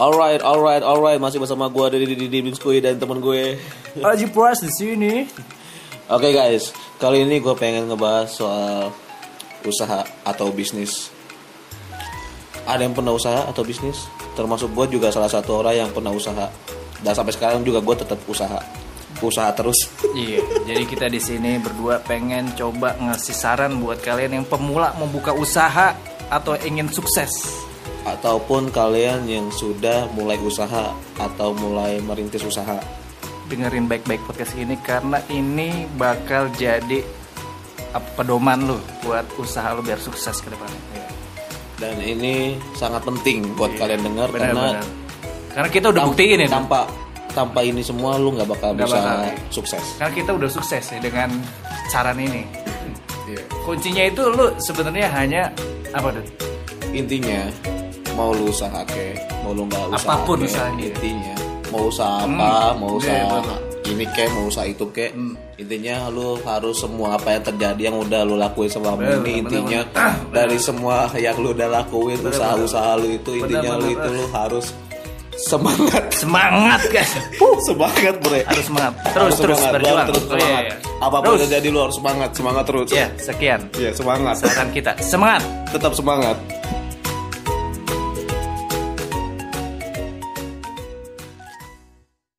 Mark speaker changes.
Speaker 1: Alright, alright, alright. Masih bersama gue dari di Bim Skuy dan temen gue.
Speaker 2: Aji Pras Oh, di sini.
Speaker 1: Oke guys, kali ini gue pengen ngebahas soal usaha atau bisnis. Ada yang pernah usaha atau bisnis? Termasuk gue juga salah satu orang yang pernah usaha. Dan sampai sekarang juga gue tetap usaha. Usaha terus.
Speaker 2: Iya, jadi kita di sini berdua pengen coba ngasih saran buat kalian yang pemula membuka usaha atau ingin sukses.
Speaker 1: Ataupun kalian yang sudah mulai usaha atau mulai merintis usaha.
Speaker 2: Dengerin baik-baik podcast ini karena ini bakal jadi apa, pedoman lu buat usaha lu biar sukses ke depannya. Iya.
Speaker 1: Dan ini sangat penting buat kalian dengar
Speaker 2: Benar,
Speaker 1: karena
Speaker 2: benar. Karena kita udah
Speaker 1: tam-
Speaker 2: buktiin ya. Bang.
Speaker 1: tanpa tanpa ini semua lu nggak bakal
Speaker 2: Nggak
Speaker 1: bisa
Speaker 2: bakal, ya.
Speaker 1: sukses.
Speaker 2: Karena kita udah sukses ya dengan saran ini. Iya. Kuncinya itu lu sebenarnya hanya apa tuh?
Speaker 1: intinya mau lu usaha ke mau lu nggak usaha
Speaker 2: Apapun
Speaker 1: ke,
Speaker 2: usahanya.
Speaker 1: intinya mau usaha apa
Speaker 2: Hmm,
Speaker 1: mau
Speaker 2: iya, Hmm.
Speaker 1: usaha
Speaker 2: betul.
Speaker 1: ini ke mau usaha itu ke intinya lu harus semua apa yang terjadi yang udah lu lakuin selama
Speaker 2: Bener,
Speaker 1: ini
Speaker 2: bener,
Speaker 1: intinya
Speaker 2: bener.
Speaker 1: dari semua yang lu udah lakuin usaha-usaha lu itu
Speaker 2: Bener,
Speaker 1: intinya lu
Speaker 2: bener,
Speaker 1: itu lu harus semangat
Speaker 2: Semangat guys.
Speaker 1: Huh, semangat bre
Speaker 2: Harus semangat. Terus
Speaker 1: Harus
Speaker 2: terus
Speaker 1: semangat, lu
Speaker 2: berjuang.
Speaker 1: harus terus
Speaker 2: Oh, iya,
Speaker 1: semangat
Speaker 2: iya.
Speaker 1: apapun
Speaker 2: Terus. Iya.
Speaker 1: terjadi lu harus semangat semangat terus
Speaker 2: Ya, sekian
Speaker 1: Iya, semangat
Speaker 2: saran kita. Semangat.
Speaker 1: tetap semangat